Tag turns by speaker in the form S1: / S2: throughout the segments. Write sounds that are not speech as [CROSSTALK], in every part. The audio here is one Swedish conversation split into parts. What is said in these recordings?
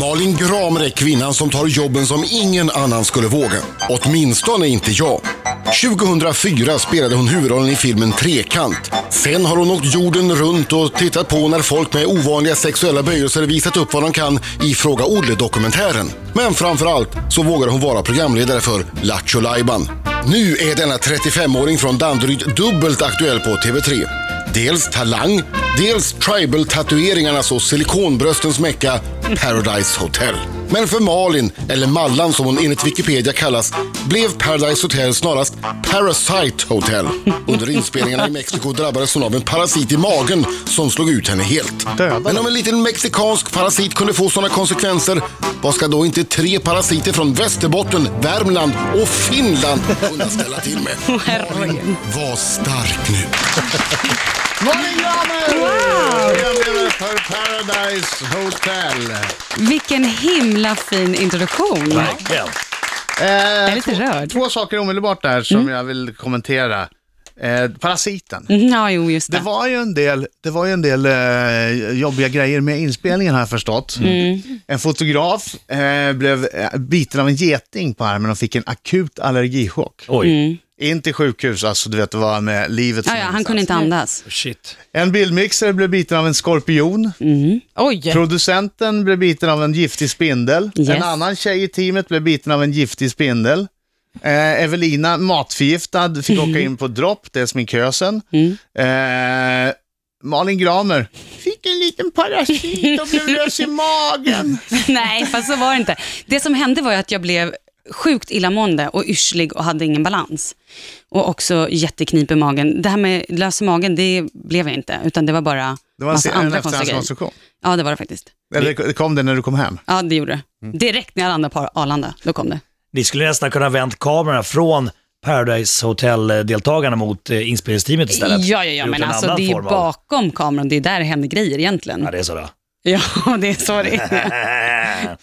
S1: Malin Gramer är kvinnan som tar jobben som ingen annan skulle våga. Åtminstone inte jag. 2004 spelade hon huvudrollen i filmen Trekant. Sen har hon åkt jorden runt och tittat på när folk med ovanliga sexuella böjelser visat upp vad de kan i Fråga Olle-dokumentären. Men framför allt så vågar hon vara programledare för Lattjo Lajban. Nu är denna 35-åring från Danderyd dubbelt aktuell på TV3. Dels Talang, dels tribal-tatueringarnas och silikonbröstens mecka Paradise Hotel. Men för Malin, eller Mallan som hon enligt Wikipedia kallas, blev Paradise Hotel snarast Parasite Hotel. Under inspelningarna i Mexiko drabbades hon av en parasit i magen som slog ut henne helt.
S2: Dödade.
S1: Men om en liten mexikansk parasit kunde få sådana konsekvenser, vad ska då inte tre parasiter från Västerbotten, Värmland och Finland kunna ställa till med?
S3: Herregud.
S1: Var stark nu.
S2: Malin Gramer! Programledare för Paradise Hotel.
S3: Vilken himla fin introduktion.
S4: Verkligen.
S2: Eh, jag
S3: är lite rörd.
S2: Två saker omedelbart där som jag vill kommentera. Eh, parasiten.
S3: Mm, Ja, jo, just
S2: Det
S3: det.
S2: var ju en del, det var ju en del eh, jobbiga grejer med inspelningen har jag förstått.
S3: Mm.
S2: En fotograf eh, blev eh, biten av en geting på armen och fick en akut allergichock. Mm.
S4: Oj,
S2: In till sjukhus, alltså du vet det var med livet som
S3: Ja, ja, han
S2: insats.
S3: kunde inte andas. [LAUGHS]
S4: shit.
S2: En bildmixer blev biten av en skorpion.
S5: Oj!
S2: Producenten blev biten av en giftig spindel.
S3: Yes.
S2: En annan tjej i teamet blev biten av en giftig spindel. Eh, Evelina, matförgiftad, fick åka in på dropp, det är sminkösen. Eh, Malin Gramer fick en liten parasit och blev lös i magen.
S3: Nej, fast så var det inte. Det som hände var ju att jag blev sjukt illamående och yrslig och hade ingen balans. Och också jätteknip i magen. Det här med lös i magen, det blev jag inte, utan det var bara
S2: Det var
S3: massa
S2: en, en
S3: andra konstiga grejer.
S2: efterhandskonstruktion.
S3: Ja, det var det faktiskt.
S2: Eller kom det när du kom hem?
S3: Ja, det gjorde det.
S2: Mm.
S3: Direkt när jag landade på Arlanda, då kom det.
S4: Ni skulle nästan kunna vänt kameran från Paradise Hotel-deltagarna mot eh, inspelningsteamet istället.
S3: Ja, ja, ja,
S4: Gjort
S3: men
S4: en
S3: alltså
S4: annan
S3: det är ju
S4: form av-
S3: bakom kameran, det är där det händer grejer egentligen.
S4: Ja, det är så då.
S3: [LAUGHS] Ja, det är så det är.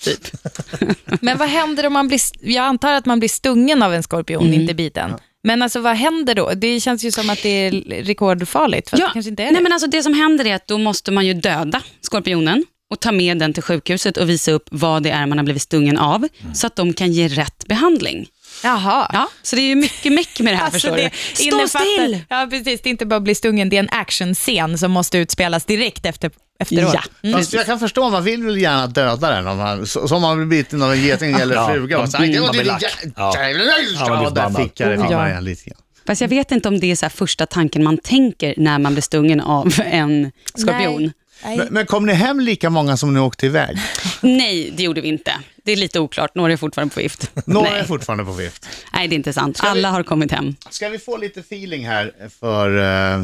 S5: Men vad händer om man blir, jag antar att man blir stungen av en skorpion,
S3: Mm.
S5: inte biten. Men alltså vad händer då? Det känns ju som att det är rekordfarligt, för att det kanske inte är
S3: nej,
S5: det.
S3: men alltså det som händer är att då måste man ju döda skorpionen och ta med den till sjukhuset och visa upp vad det är man har blivit stungen av, så att de kan ge rätt behandling.
S5: Jaha. Alltså,
S3: Ja, så det är ju mycket meck med det
S5: [LAUGHS]
S3: här, förstår
S5: det
S3: du. Stå
S5: innefattar-
S3: still!
S5: Ja, precis. Det är inte bara att bli stungen, det är en actionscen som måste utspelas direkt efter, efteråt.
S3: Ja.
S2: Fast jag kan förstå, man vill väl gärna döda den om man, så- som om man blir biten av en geting eller
S4: Ja,
S2: fruga. Och så,
S4: man-
S2: "Aj, det var
S4: man blir
S2: din
S4: lack."
S2: jä-
S4: Ja.
S2: jävla-
S4: Ja, man blir
S2: Ja, där
S4: förbannad.
S2: fick jag det
S5: Oh,
S2: från
S5: ja.
S2: början lite grann.
S3: Fast jag vet inte om det är så här första tanken man tänker när man blir stungen av [LAUGHS] en skorpion.
S5: Nej.
S2: Men, men kom ni hem lika många som ni
S3: [LAUGHS]
S2: åkte iväg?
S3: Nej, det gjorde vi inte. Det är lite oklart, några är fortfarande på vift.
S2: Några är
S3: Nej.
S2: fortfarande på vift.
S3: Nej, det är inte sant. Alla har kommit hem.
S2: Ska vi få lite feeling här för eh,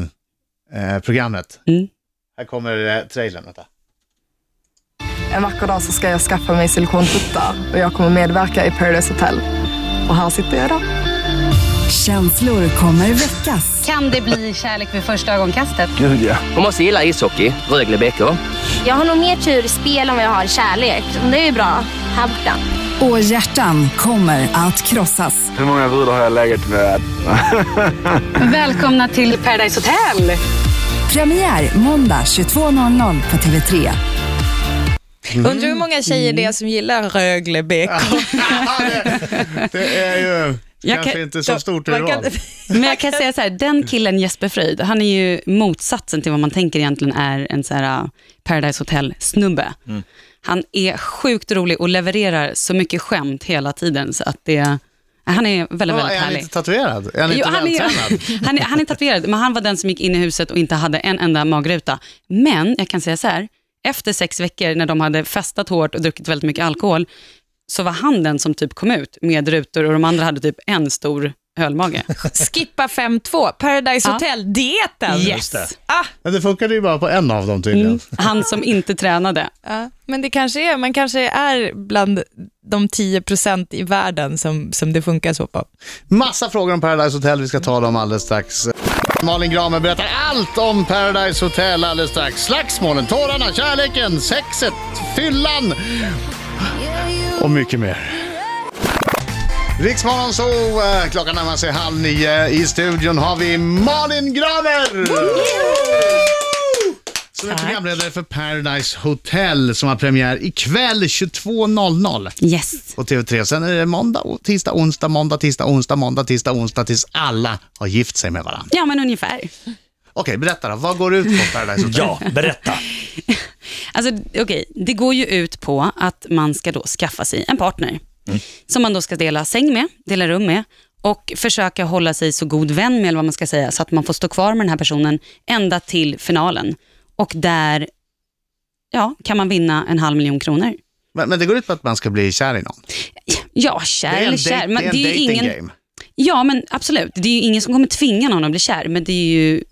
S2: eh, programmet?
S3: Mm.
S2: Här kommer eh, trailern. Vänta.
S6: En vacker dag så ska jag skaffa mig silikontuttar och jag kommer medverka i Paradise Hotel. Och här sitter jag idag.
S7: Känslor kommer väckas.
S3: Kan det bli kärlek vid första ögonkastet?
S8: Hon måste gilla ishockey, Rögle BK.
S9: Jag har nog mer tur i spel än vad jag har i kärlek. Det är ju bra här borta.
S7: Och hjärtan kommer att krossas.
S10: Hur många brudar har jag legat med?
S3: Välkomna till Paradise Hotel!
S7: Premiär måndag 22.00 på TV3.
S5: Mm. Undrar hur många tjejer det är som gillar Rögle BK.
S2: [LAUGHS] Det är ju
S3: Jag
S2: kanske
S3: kan-
S2: inte så stort
S5: Man
S2: urval.
S5: kan-
S3: Men jag kan säga så här, den killen Jesper Fröjd, han är ju motsatsen till vad man tänker egentligen är en så här uh, Paradise Hotel-snubbe.
S2: Mm.
S3: Han är sjukt rolig och levererar så mycket skämt hela tiden så att det, äh, han är väldigt,
S2: Ja,
S3: väldigt
S2: är han
S3: härlig.
S2: inte tatuerad? Är han
S3: Jo,
S2: inte
S3: han, är, [LAUGHS]
S2: vältränad?
S3: han, är, han är tatuerad, men han var den som gick in i huset och inte hade en enda magruta. Men jag kan säga så här, efter sex veckor när de hade festat hårt och druckit väldigt mycket alkohol, så var han den som typ kom ut med rutor och de andra hade typ en stor ölmage.
S5: [LAUGHS] Skippa 5-2, Paradise
S3: Ja.
S5: Hotel-dieten.
S3: Yes.
S4: det.
S5: Ah,
S2: Men det funkade ju bara på en av dem tydligen.
S3: Han som inte tränade.
S5: ja. Men det kanske är, man kanske är bland de 10 procent i världen som, som det funkar så på.
S2: Massa frågor om Paradise Hotel, vi ska ta dem alldeles strax. Malin Gramer berättar allt om Paradise Hotel alldeles strax. Slagsmålen, tårarna, kärleken, sexet, fyllan och mycket mer. Riksmorgon så eh, klockan närmar sig halv nio. I studion har vi Malin Gramer! Som är programledare för Paradise Hotel som har premiär ikväll 22.00.
S3: Yes.
S2: På TV3. Sen är det måndag, o- tisdag, onsdag, måndag, tisdag, onsdag, måndag, tisdag, onsdag tills alla har gift sig med varandra.
S3: Ja, men ungefär.
S2: Okej, berätta då. Vad går det ut på Paradise Hotel?
S4: Ja, berätta.
S3: Alltså, okej, det går ju ut på att man ska då skaffa sig en partner
S2: Mm.
S3: som man då ska dela säng med, dela rum med och försöka hålla sig så god vän med, eller vad man ska säga, så att man får stå kvar med den här personen ända till finalen. Och där ja, kan man vinna en halv miljon kronor.
S2: Men, men det går ut på att man ska bli kär i någon.
S3: Ja, kär
S2: det är en
S3: eller kär.
S2: date-
S3: Men
S2: det är en
S3: det är ju
S2: dating
S3: ingen,
S2: game.
S3: Ja, men absolut. Det är ju ingen som kommer tvinga någon att bli kär, men det är ju,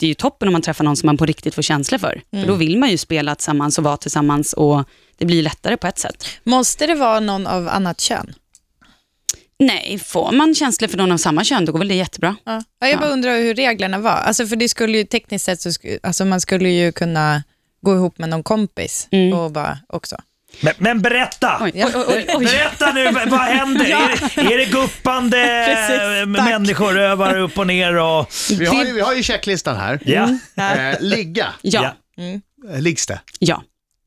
S3: det är ju toppen om man träffar någon som man på riktigt får känslor för.
S5: Mm.
S3: För då vill man ju spela tillsammans och vara tillsammans och det blir lättare på ett sätt.
S5: Måste det vara någon av annat kön?
S3: Nej, får man känslor för någon av samma kön, då går väl det jättebra.
S5: Ja. Ja, jag bara undrar hur reglerna var. Alltså, för det skulle ju tekniskt sett, så sku, alltså, man skulle ju kunna gå ihop med någon kompis
S3: Mm.
S5: och bara också.
S4: Men, men berätta!
S5: Ja.
S4: Berätta nu, vad
S3: [LAUGHS]
S4: vad händer?
S5: Ja.
S4: Är, det- är det guppande
S5: Precis, tack.
S4: människorövar upp och ner? Och...
S2: Vi har ju, vi har ju checklistan här.
S4: Ja,
S3: Mm.
S2: Eh, ligga,
S3: Ja,
S2: Eh, liggs det?
S3: ja.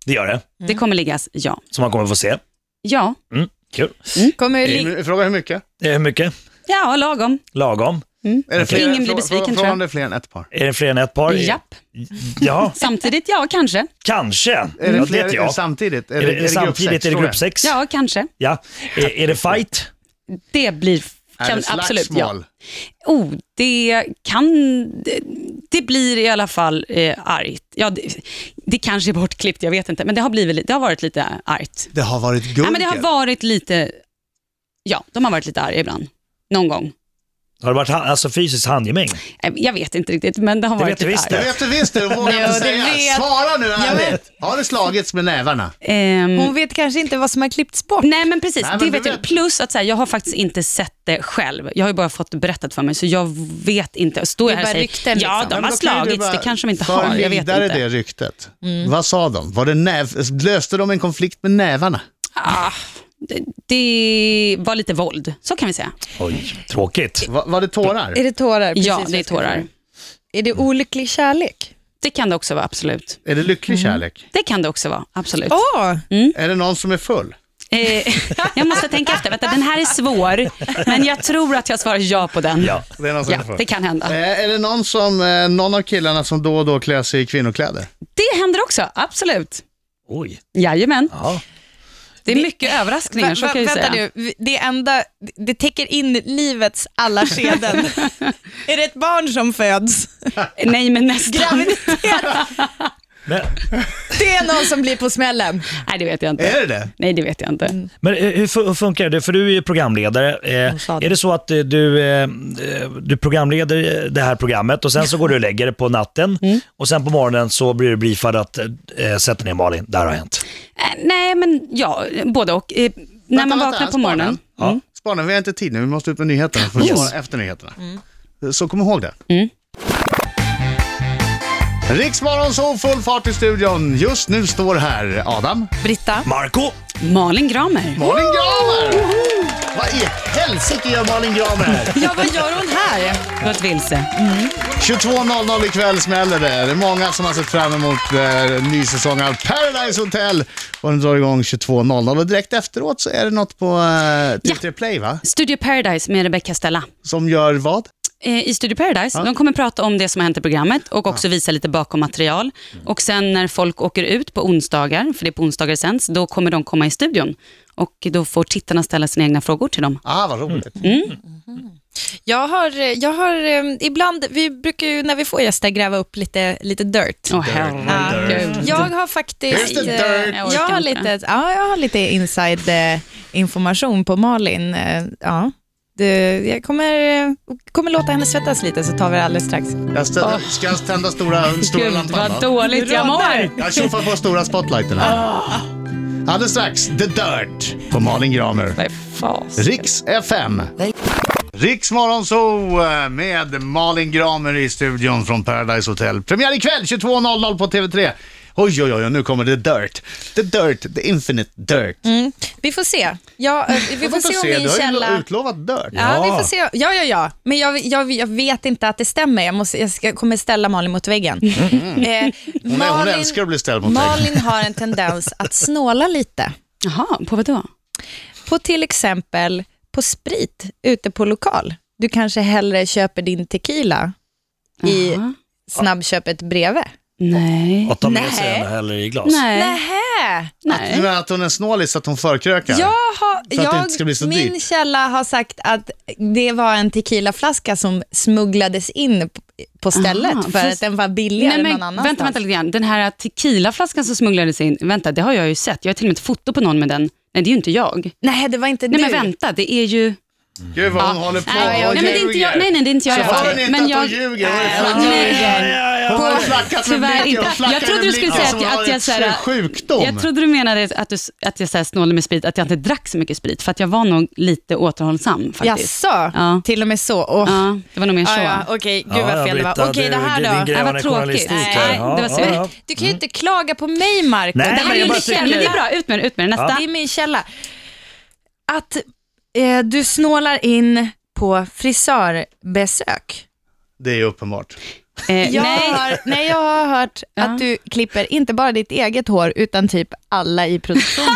S4: det gör det.
S2: Mm.
S3: Det kommer liggas, ja.
S4: Som man kommer få se.
S3: Ja,
S4: Mm, kul.
S5: Kommer ju lig-
S2: Hur- Fråga hur mycket?
S4: Det är hur mycket?
S3: ja lagom.
S4: Lagom.
S2: Är det fler,
S3: Ingen blir
S2: fråga-
S3: besviken,
S2: fråga-
S3: tror jag.
S2: Fråga om det är fler än ett par.
S4: Är det fler än ett par?
S3: Japp.
S4: Ja,
S3: Samtidigt, ja, kanske.
S4: kanske.
S2: Är det
S4: ja, det
S2: fler
S4: vet
S2: är det
S4: jag.
S2: samtidigt?
S4: Är det, är det samtidigt? Är det grupp sex?
S3: Ja, kanske.
S4: Ja. Är, är det fight?
S3: Det blir...
S2: Är
S3: Kan,
S2: det
S3: absolut, ja.
S2: slagsmål?
S3: Oh, det kan... Det, det blir i alla fall eh, argt. Ja, det, det kanske är bortklippt, jag vet inte. Men det har, blivit, li- det har varit lite argt.
S2: Det har varit guld.
S3: Nej, men det har varit lite... Ja, de har varit lite arga ibland. Någon gång.
S4: Har det varit ha- alltså, fysiskt handgemäng?
S3: Eh, Jag vet inte riktigt, men det har
S4: Det
S3: varit
S4: vet du
S3: lite
S4: visst
S3: argt.
S2: Jag vet du visst det, du vågar inte
S5: Jo, det
S2: säga.
S5: vet.
S2: Svara nu
S5: Jag
S2: ärligt. Har det slagits med nävarna?
S3: Ehm,
S5: Hon vet kanske inte vad som har klippts bort.
S3: Nej men precis,
S2: Nej, men
S3: det
S2: du
S3: vet jag.
S2: vet.
S3: Plus att så här, jag har faktiskt inte sett det själv. Jag har ju bara fått det berättat för mig, så jag vet inte. Står
S5: Det
S3: jag
S5: är
S3: här och
S5: bara
S3: säger,
S5: rykten,
S3: ja
S5: liksom."
S3: de
S2: Men
S3: har
S2: då kan ju du
S3: slagits,
S2: bara
S3: det kanske de inte
S2: föra
S3: har. Jag vet
S2: vidare
S3: inte. Mm.
S2: det ryktet. Vad sa de? Var det näv- löste de en konflikt med nävarna?
S3: Ah, det, det var lite våld, så kan vi säga.
S4: Oj, tråkigt.
S2: Va- var det tårar?
S5: Är det tårar? Precis
S3: ja,
S5: vad
S3: det är
S5: jag skulle
S3: tårar.
S5: säga. Är det olycklig kärlek?
S3: Det kan det Mm. också vara, absolut.
S2: Är det lycklig kärlek?
S3: Det kan det också vara, absolut.
S5: Åh!
S3: Mm.
S2: Är det någon som är full?
S3: Eh, [LAUGHS] jag måste tänka efter, Vänta, den här är svår, men jag tror att jag svarar ja på den.
S4: Ja.
S2: Det är, någon som är,
S3: Ja,
S2: full.
S3: det kan hända.
S2: Eh, är det någon, som, eh, någon av killarna som då och då klär sig i kvinnokläder?
S3: Det händer också, absolut.
S4: Oj.
S3: Jajamän.
S4: Ja.
S3: Det är mycket överraskningar,
S5: Va-
S3: så
S5: va-
S3: kan jag ju
S5: vänta
S3: säga.
S5: nu, det enda, det täcker in livets alla skeden. [LAUGHS] är det ett barn som föds?
S3: Nej, men nästan.
S5: [LAUGHS] Graviditet?
S4: Men,
S5: Det är någon som blir på smällen.
S3: Nej, det vet jag inte.
S2: Är det det?
S3: Nej, det vet jag inte.
S4: men eh, hur fu- hur funkar det? För du är ju programledare. Eh,
S5: Hon sa det.
S4: är det så att eh, du, eh, eh, du programleder eh, det här programmet och sen så går du och lägger det på natten
S5: Mm.
S4: och sen på morgonen så blir du briefad att eh, sätta ner Malin, det här har hänt.
S3: Eh, Nej, men ja, både och. Eh, när man
S2: vänta,
S3: vaknar på
S2: spara
S3: morgonen. Mm.
S4: Ja.
S2: Spana, vi har inte tid nu, vi måste ut med nyheterna. För
S4: Yes.
S2: yes. efter nyheterna. Så kom ihåg det.
S3: Mm.
S2: Riksmorgon så full fart i studion. Just nu står här Adam.
S5: Britta?
S4: Marco
S3: Malin Gramer.
S2: Malin Gramer! Vad i helsike gör Malin Gramer här?
S3: [LAUGHS]
S5: Ja, vad gör hon här?
S3: Gått vilse.
S2: 22.00 ikväll smäller det. Det är många som har sett fram emot eh, ny säsong av Paradise Hotel. Och den drar igång 22.00 och direkt efteråt så är det något på eh, TV3 Play va?
S3: Studio Paradise med Rebecca Stella.
S2: Som gör vad?
S3: Eh, i Studio Paradise. De kommer prata om det som har hänt i programmet och också visa lite bakom material. Och sen när folk åker ut på onsdagar, för det är på onsdagar det sänds, då kommer de komma i studion. Och då får tittarna ställa sina egna frågor till dem.
S2: Ah, vad roligt.
S3: Mm.
S5: Jag har, jag har eh, ibland, vi brukar ju när vi får gäster gräva upp lite, lite dirt. Ah,
S3: Åh herregud.
S5: Jag har faktiskt...
S2: Here's the
S5: eh,
S2: dirt.
S3: Jag orkar
S5: Jag har
S3: inte.
S5: lite, ja, jag har lite inside eh, information på Malin. Eh, Ja. Det, jag kommer, eh, kommer låta henne svettas lite så tar vi det alldeles strax.
S2: Jag ställer, Ska jag tända stora, stora
S3: Ah. Gud
S2: lampan?
S3: vad
S2: va?
S3: dåligt jag mår.
S2: Jag tjoffar på stora spotlighten här.
S3: Ah.
S2: Alldeles strax, The Dirt på Malin Gramer.
S3: Vad fas.
S2: Riks FM. Riks Morgonzoo med Malin Gramer i studion från Paradise Hotel. Premiär ikväll 22.00 på TV3. Oj, oj, oj, nu kommer the dirt. The dirt, the infinite dirt.
S5: Mm. Vi får se. Ja, eh, vi får se om
S2: du
S5: min
S2: har ju
S5: källa...
S2: utlovat dirt.
S5: Ja, vi får se. Ja, ja, ja. Men jag, jag, jag vet inte att det stämmer. Jag, måste, jag ska, kommer ställa Malin mot väggen. Eh,
S2: Mm, Hon, är, hon älskar att bli ställd mot väggen.
S5: Malin har en tendens att snåla lite.
S3: Jaha, på vad då?
S5: På till exempel på sprit ute på lokal. Du kanske hellre köper din tequila i
S3: Jaha.
S5: snabbköpet bredvid.
S3: Nej.
S4: Att ta med sig
S5: Nej.
S4: en heller i glas.
S3: Nej.
S5: Nähä!
S2: Du
S3: Nej.
S2: menar att hon är snålis så att hon förkrökar?
S5: Jag har,
S2: För att det
S5: jag,
S2: inte ska bli så
S5: min
S2: dyrt.
S5: källa har sagt att det var en tequilaflaska som smugglades in p- på stället
S3: Aha,
S5: för
S3: fast-
S5: att den var billigare
S3: Nej,
S5: någon
S3: men,
S5: annanstans.
S3: vänta, vänta lite grann. Den här tequilaflaskan som smugglades in, vänta, det har jag ju sett. Jag har till och med ett foto på någon med den. Nej, det är ju inte jag.
S5: Nej, det var inte
S3: Nej,
S5: du.
S3: men vänta, det är ju...
S2: Gud vad hon håller på
S3: Nej,
S2: och
S3: nej, men det är inte jag,
S2: ljuger.
S3: nej, nej, det är inte jag i alla
S2: Så hör
S3: fall.
S2: ni inte
S3: Men
S2: att
S3: jag...
S2: hon ljuger? Hon är
S5: Hon ljuger.
S2: Hon har flackat med
S3: Tyvärr
S2: blicken. Hon
S3: inte.
S2: flackar
S3: Jag trodde
S2: med
S3: du skulle
S2: blicken
S3: säga
S2: som
S3: att jag,
S2: har
S3: att jag,
S2: ett
S3: så här,
S2: sjukdom.
S3: jag trodde du menade att, du, att jag så här snålade med sprit, att jag inte drack så mycket sprit, för att jag var nog lite återhållsam faktiskt.
S5: Jaså?
S3: Ja.
S5: Till och med så? Åh.
S3: Ja, det var nog mer så.
S5: Ah, ja, Okej, gud
S4: Ja,
S5: vad fel det
S4: Britta,
S5: var. Okej,
S4: du-
S5: det här
S4: din
S5: då?
S3: grej-
S4: grävande
S3: vad tråkigt.
S4: journalistik
S3: Nej,
S4: här.
S3: det var synd.
S4: ja.
S5: Du kan ju inte klaga på mig, Marko.
S4: Nej,
S5: det
S3: Det
S5: här
S3: här
S5: är
S3: är
S4: jag
S5: min
S4: bara
S3: min källa,
S5: källa.
S3: men
S4: tycker-
S3: det är bra. Ut med det, ut med det. Nästa.
S5: Det är min källa. Att eh, du snålar in på frisörbesök.
S2: Det är ju uppenbart.
S3: Eh,
S5: Jag
S3: nej.
S5: har, nej, jag har [LAUGHS] hört
S3: Ja.
S5: att du klipper inte bara ditt eget hår, utan typ alla i [LAUGHS] produktionen.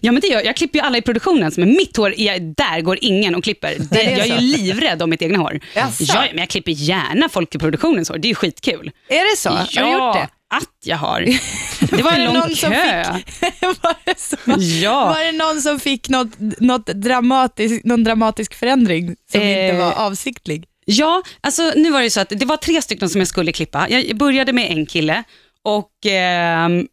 S3: Ja, men det gör, jag. jag klipper ju alla i produktionen, men mitt hår, jag, där går ingen och klipper. Det,
S5: det är
S3: jag är ju livrädd om mitt egna hår.
S5: Jaså?
S3: Ja, men jag klipper gärna folk i produktionens hår, det är ju skitkul.
S5: är det så?
S3: ja,
S5: Har du gjort det?
S3: att jag har. Det var en
S5: någon
S3: lång
S5: som
S3: kö.
S5: [LAUGHS] var, det så?
S3: Ja.
S5: var det någon som fick något, något dramatisk, någon dramatisk förändring som inte
S3: Eh.
S5: var avsiktlig?
S3: Ja, alltså nu var det ju så att det var tre stycken som jag skulle klippa. Jag började med en kille och ehm,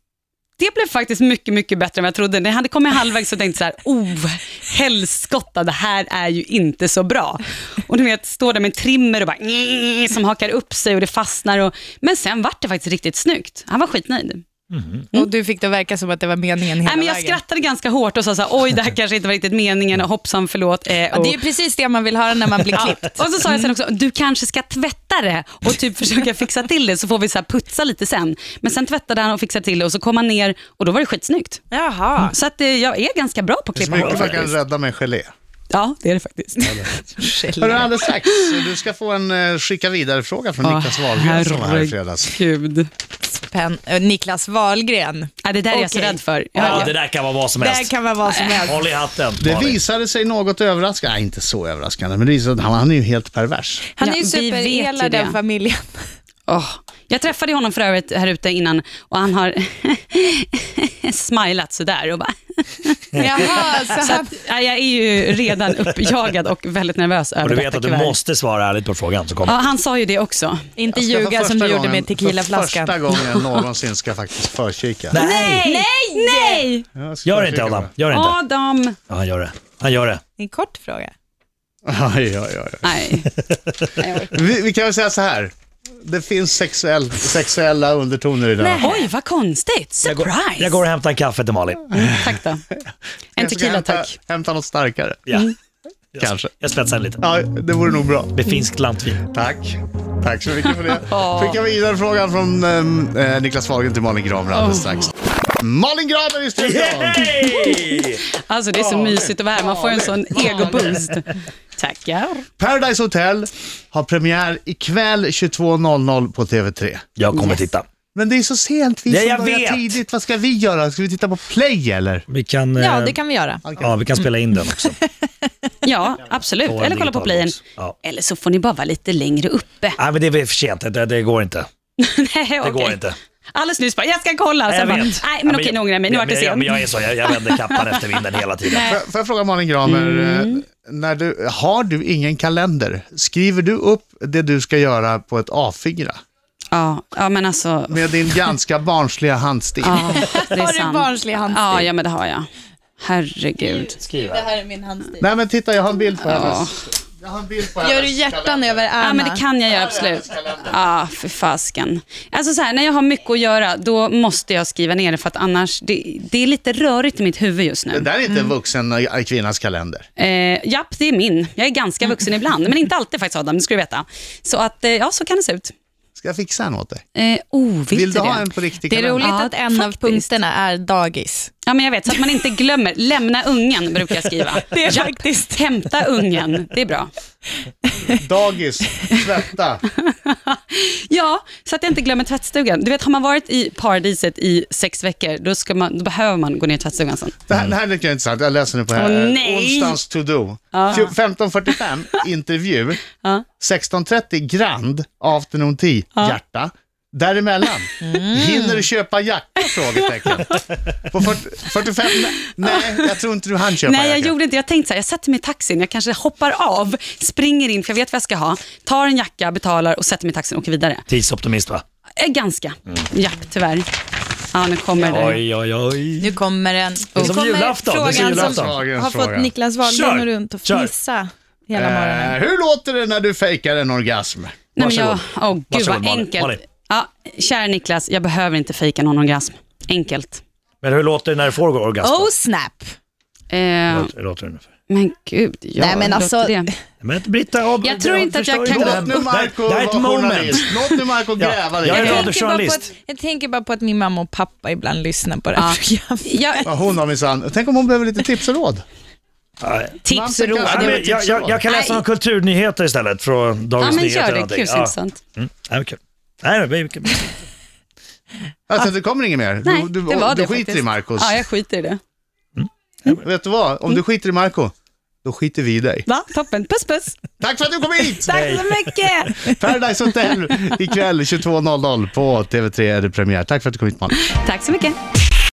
S3: det blev faktiskt mycket, mycket bättre än vad jag trodde. När jag hade kommit halvvägs så tänkte jag så här, oh, helskotta, det här är ju inte så bra. Och du vet, står där med en trimmer och bara, "Nj", som hakar upp sig och det fastnar. Och, men sen vart det faktiskt riktigt snyggt. Han var skitnöjd.
S5: Och du fick det verka som att det var meningen hela
S3: Nej, men jag
S5: vägen.
S3: skrattade ganska hårt och sa så här, oj, det här kanske inte var riktigt meningen, hoppsan, förlåt. Eh,
S5: Ja,
S3: och,
S5: det är ju precis det man vill höra när [LAUGHS] man blir
S3: [LAUGHS]
S5: klippt.
S3: Och så sa jag sen också, du kanske ska tvätta det och typ försöka fixa till det så får vi så här putsa lite sen. Men sen tvättade han och fixade till det och så kom han ner och då var det skitsnyggt.
S5: Jaha.
S3: Så att eh, jag är ganska bra på att
S2: Det är så
S3: klippa hår
S2: mycket man kan
S3: faktiskt.
S2: rädda med gelé.
S3: Ja, det är det faktiskt.
S2: Har du alldeles strax, du ska få en eh, skicka vidare-fråga från Niklas Wahlgren som var här i fredags.
S3: Ah, herregud.
S5: Pen, eh, Niklas Wahlgren.
S3: Ja, det där är jag så
S5: Okej.
S3: rädd för.
S4: Ja,
S3: Ja,
S4: det där kan vara vad som
S5: Där
S4: helst.
S5: kan man vara som helst.
S4: Håll i hatten.
S2: Det
S4: Malin.
S2: visade sig något överraskande, nej inte så överraskande, men det visade att han, han är ju helt pervers.
S5: Han är ju
S3: Ja, vi vet ju
S5: superelad
S3: det.
S5: den familjen.
S3: Åh. Jag träffade honom för övrigt här ute innan och han har [LAUGHS] smilat sådär och bara
S5: [LAUGHS] Jaha, så
S3: Så
S5: han,
S3: att, ja, jag är ju redan uppjagad och väldigt nervös över
S4: Och du vet
S3: detta
S4: att du
S3: kuvert.
S4: måste svara ärligt på frågan som
S3: Ja,
S4: kommer.
S3: han sa ju det också.
S5: inte
S2: Jag ska för
S5: ljuga som
S2: första
S5: du gjorde
S2: gången-
S5: med tequilaflaskan.
S2: För första
S3: [LAUGHS]
S2: gången någonsin ska jag faktiskt förkika.
S4: Nej!
S3: Nej! Nej!
S2: Jag ska
S4: Gör det inte
S2: förkika
S4: Adam.
S2: [LAUGHS] bara.
S4: Gör det inte.
S3: Adam!
S4: Ja, han gör det. Han gör det.
S5: En kort fråga.
S2: Aj, aj, aj, aj.
S3: Nej.
S2: Vi, vi kan väl säga så här, det finns sexuell, sexuella undertoner i den. här.
S3: Oj, vad konstigt. Surprise!
S4: Jag går och hämtar en kaffe till Malin.
S3: Tack då. En
S2: Jag ska
S3: tequila,
S2: hämta,
S3: tack.
S2: Hämta något starkare.
S4: Ja.
S3: [LAUGHS]
S2: Kanske.
S4: Jag spetsar lite.
S2: Ja, det vore nog bra.
S4: Med finskt lantvin.
S2: Tack. Tack så mycket för det. Skicka vidare frågan från ehm, eh, Niklas Wahlgren till Malin Gramer alldeles strax. Malin Gramer i studion!
S3: Alltså det är så mysigt att vara här. Man får en sån egoboost. Tackar.
S2: Paradise Hotel har premiär ikväll 22.00 på TV3.
S4: Jag kommer titta.
S2: Men det är så sent, vi
S4: Ja,
S2: som
S4: jag
S2: börjar
S4: vet.
S2: tidigt. Vad ska vi göra? Ska vi titta på Play eller?
S4: Vi kan,
S5: Ja,
S4: eh,
S5: det kan vi göra.
S4: ja, vi kan spela in den också.
S3: Ja, absolut.
S4: På en
S3: Eller kolla på
S4: digital
S3: playen.
S4: box. Ja.
S3: Eller så får ni bara vara lite längre uppe.
S4: [LAUGHS] Nej, men det är väl för sent. Det, det går inte.
S3: [LAUGHS] Nej,
S4: Det går
S3: okej.
S4: inte.
S3: Alldeles nyss bara, jag ska kolla. Och
S4: Nej, jag
S3: sen bara,
S4: vet.
S3: Nej, men okej, nu ångrar jag mig. Nu
S4: Ja,
S3: vart det
S4: men- ja,
S3: sent.
S4: men Jag är så, jag, jag vänder kappan efter vinden hela tiden.
S2: Får jag- Får jag fråga Malin Gramer, eh, när du, har du ingen kalender? Skriver du upp det du ska göra på ett A4
S3: Ja, ja, men alltså.
S2: med din ganska barnsliga handstil?
S3: Ja, det är
S5: Har du
S3: sant.
S5: barnslig handstil?
S3: Ja, ja, men det har jag. Herregud.
S5: Det här är min handstil.
S2: Nej men titta, jag har en bild på hennes. Jag har en bild på
S5: Gör du
S2: hennes
S5: hjärtan
S2: kalender.
S5: över Anna?
S3: Ja, men det kan jag göra absolut. Ja, för fasken. Alltså så här, när jag har mycket att göra, då måste jag skriva ner det, för att annars, det, det är lite rörigt i mitt huvud just
S2: Det
S3: nu. Mm.
S2: där är inte en vuxen eh, kvinnas kalender.
S3: Eh, japp, det är min. Jag är ganska vuxen ibland, men inte alltid faktiskt Adam, det ska du veta. Så att, eh, ja, så kan det se ut.
S2: Ska jag fixa en åt dig?
S3: Eh, oh, vill,
S2: Vill du ha
S3: det?
S2: en på riktig
S5: Det är
S2: kalender?
S5: roligt
S3: Ja,
S5: att en av punkterna är dagis.
S3: Ja, men jag vet. Så att man inte glömmer. Lämna ungen, brukar jag skriva.
S5: [LAUGHS] Det är
S3: Ja,
S5: faktiskt.
S3: Hämta ungen, det är bra.
S2: Dagis, tvätta.
S3: Ja, så att jag inte glömmer tvättstugan. Du vet, har man varit i paradiset i sex veckor, då, ska man, då behöver man gå ner i tvättstugan sen.
S2: Det här, det här tycker jag är intressant. Jag läser nu på här.
S3: Åh,
S2: Eh,
S3: nej.
S2: Onsdagens to do.
S3: [LAUGHS]
S2: Fjo- 15.45, intervju.
S3: Ja.
S2: 16.30, Grand, afternoon tea, hjärta. Däremellan,
S3: Mm.
S2: hinner du köpa jacka? Frågetecken. På 40, 45, nej, jag tror inte du hann köpa
S3: Nej, jag
S2: jacka.
S3: gjorde inte Jag tänkte så här, jag sätter mig i taxin, jag kanske hoppar av, springer in, för jag vet vad jag ska ha, tar en jacka, betalar och sätter mig i taxin och åker vidare.
S4: Tidsoptimist va?
S3: Eh, Ganska. Ja, tyvärr. Ja, nu kommer det.
S4: Mm. Oj, oj, oj.
S5: Nu kommer den.
S4: är
S5: Nu
S4: som
S5: kommer
S4: julafton, det är som
S5: frågan som
S4: julafton.
S2: Dagens
S5: har
S2: fråga.
S5: fått Niklas
S4: Kör!
S5: Wahlgren att runt och
S4: Kör!
S5: fnissa hela
S2: Eh,
S5: morgonen.
S2: hur låter det när du fejkar en orgasm?
S3: Nej, men jag, åh, gud
S4: Varsågod,
S3: vad
S4: Malin. Malin.
S3: enkelt. Ja, kära Niklas, jag behöver inte fejka någon orgasm. Enkelt.
S4: Men hur låter det när du får orgasm?
S5: Oh snap!
S3: Eh,
S4: Hur låter det ungefär?
S3: men gud, ja,
S5: Nej, men
S3: låter
S5: alltså-
S3: det.
S4: Men Britta, av,
S3: Jag tror inte att jag
S4: förstör
S3: kan
S4: ju
S3: gå-
S4: det här.
S2: Låt nu Marco
S4: Det här är ett
S2: vara
S4: moment.
S2: journalist. Låt nu Marco
S4: Ja,
S2: gräva
S4: jag är
S2: lite.
S4: glad.
S5: tänker bara på
S4: radiojournalist.
S5: att, jag tänker bara på att min mamma och pappa ibland lyssnar på det här
S3: Ja.
S5: programmet.
S3: Ja,
S2: Ja, hon har minsann. Tänk om hon behöver lite tips och råd.
S4: Nej.
S3: tips och
S2: Mamsen
S3: råd.
S2: kanske-
S4: Nej, men jag, jag, jag kan läsa om kulturnyheter istället från
S3: typ Ja,
S4: Dagens
S3: men
S4: Nyheter.
S3: gör
S4: eller
S3: det.
S4: någonting.
S3: Gud, så intressant.
S4: Ja, men kul. Nej, men, men,
S2: Alltså, det kommer inget mer.
S3: Nej,
S2: Du, du,
S3: det var
S2: du
S3: det
S2: skiter
S3: faktiskt.
S2: i Marcos.
S3: Ja, jag skiter i det.
S2: Vet du vad?
S4: Mm.
S2: Om du skiter i Marco, då skiter vi i dig.
S3: Va? Toppen. Puss, puss.
S2: Tack för att du kom hit!
S5: Tack så
S4: [LAUGHS]
S5: mycket!
S2: Paradise Hotel ikväll 22.00 på TV3 är det premiär. Tack för att du kom hit, Malin.
S3: Tack så mycket.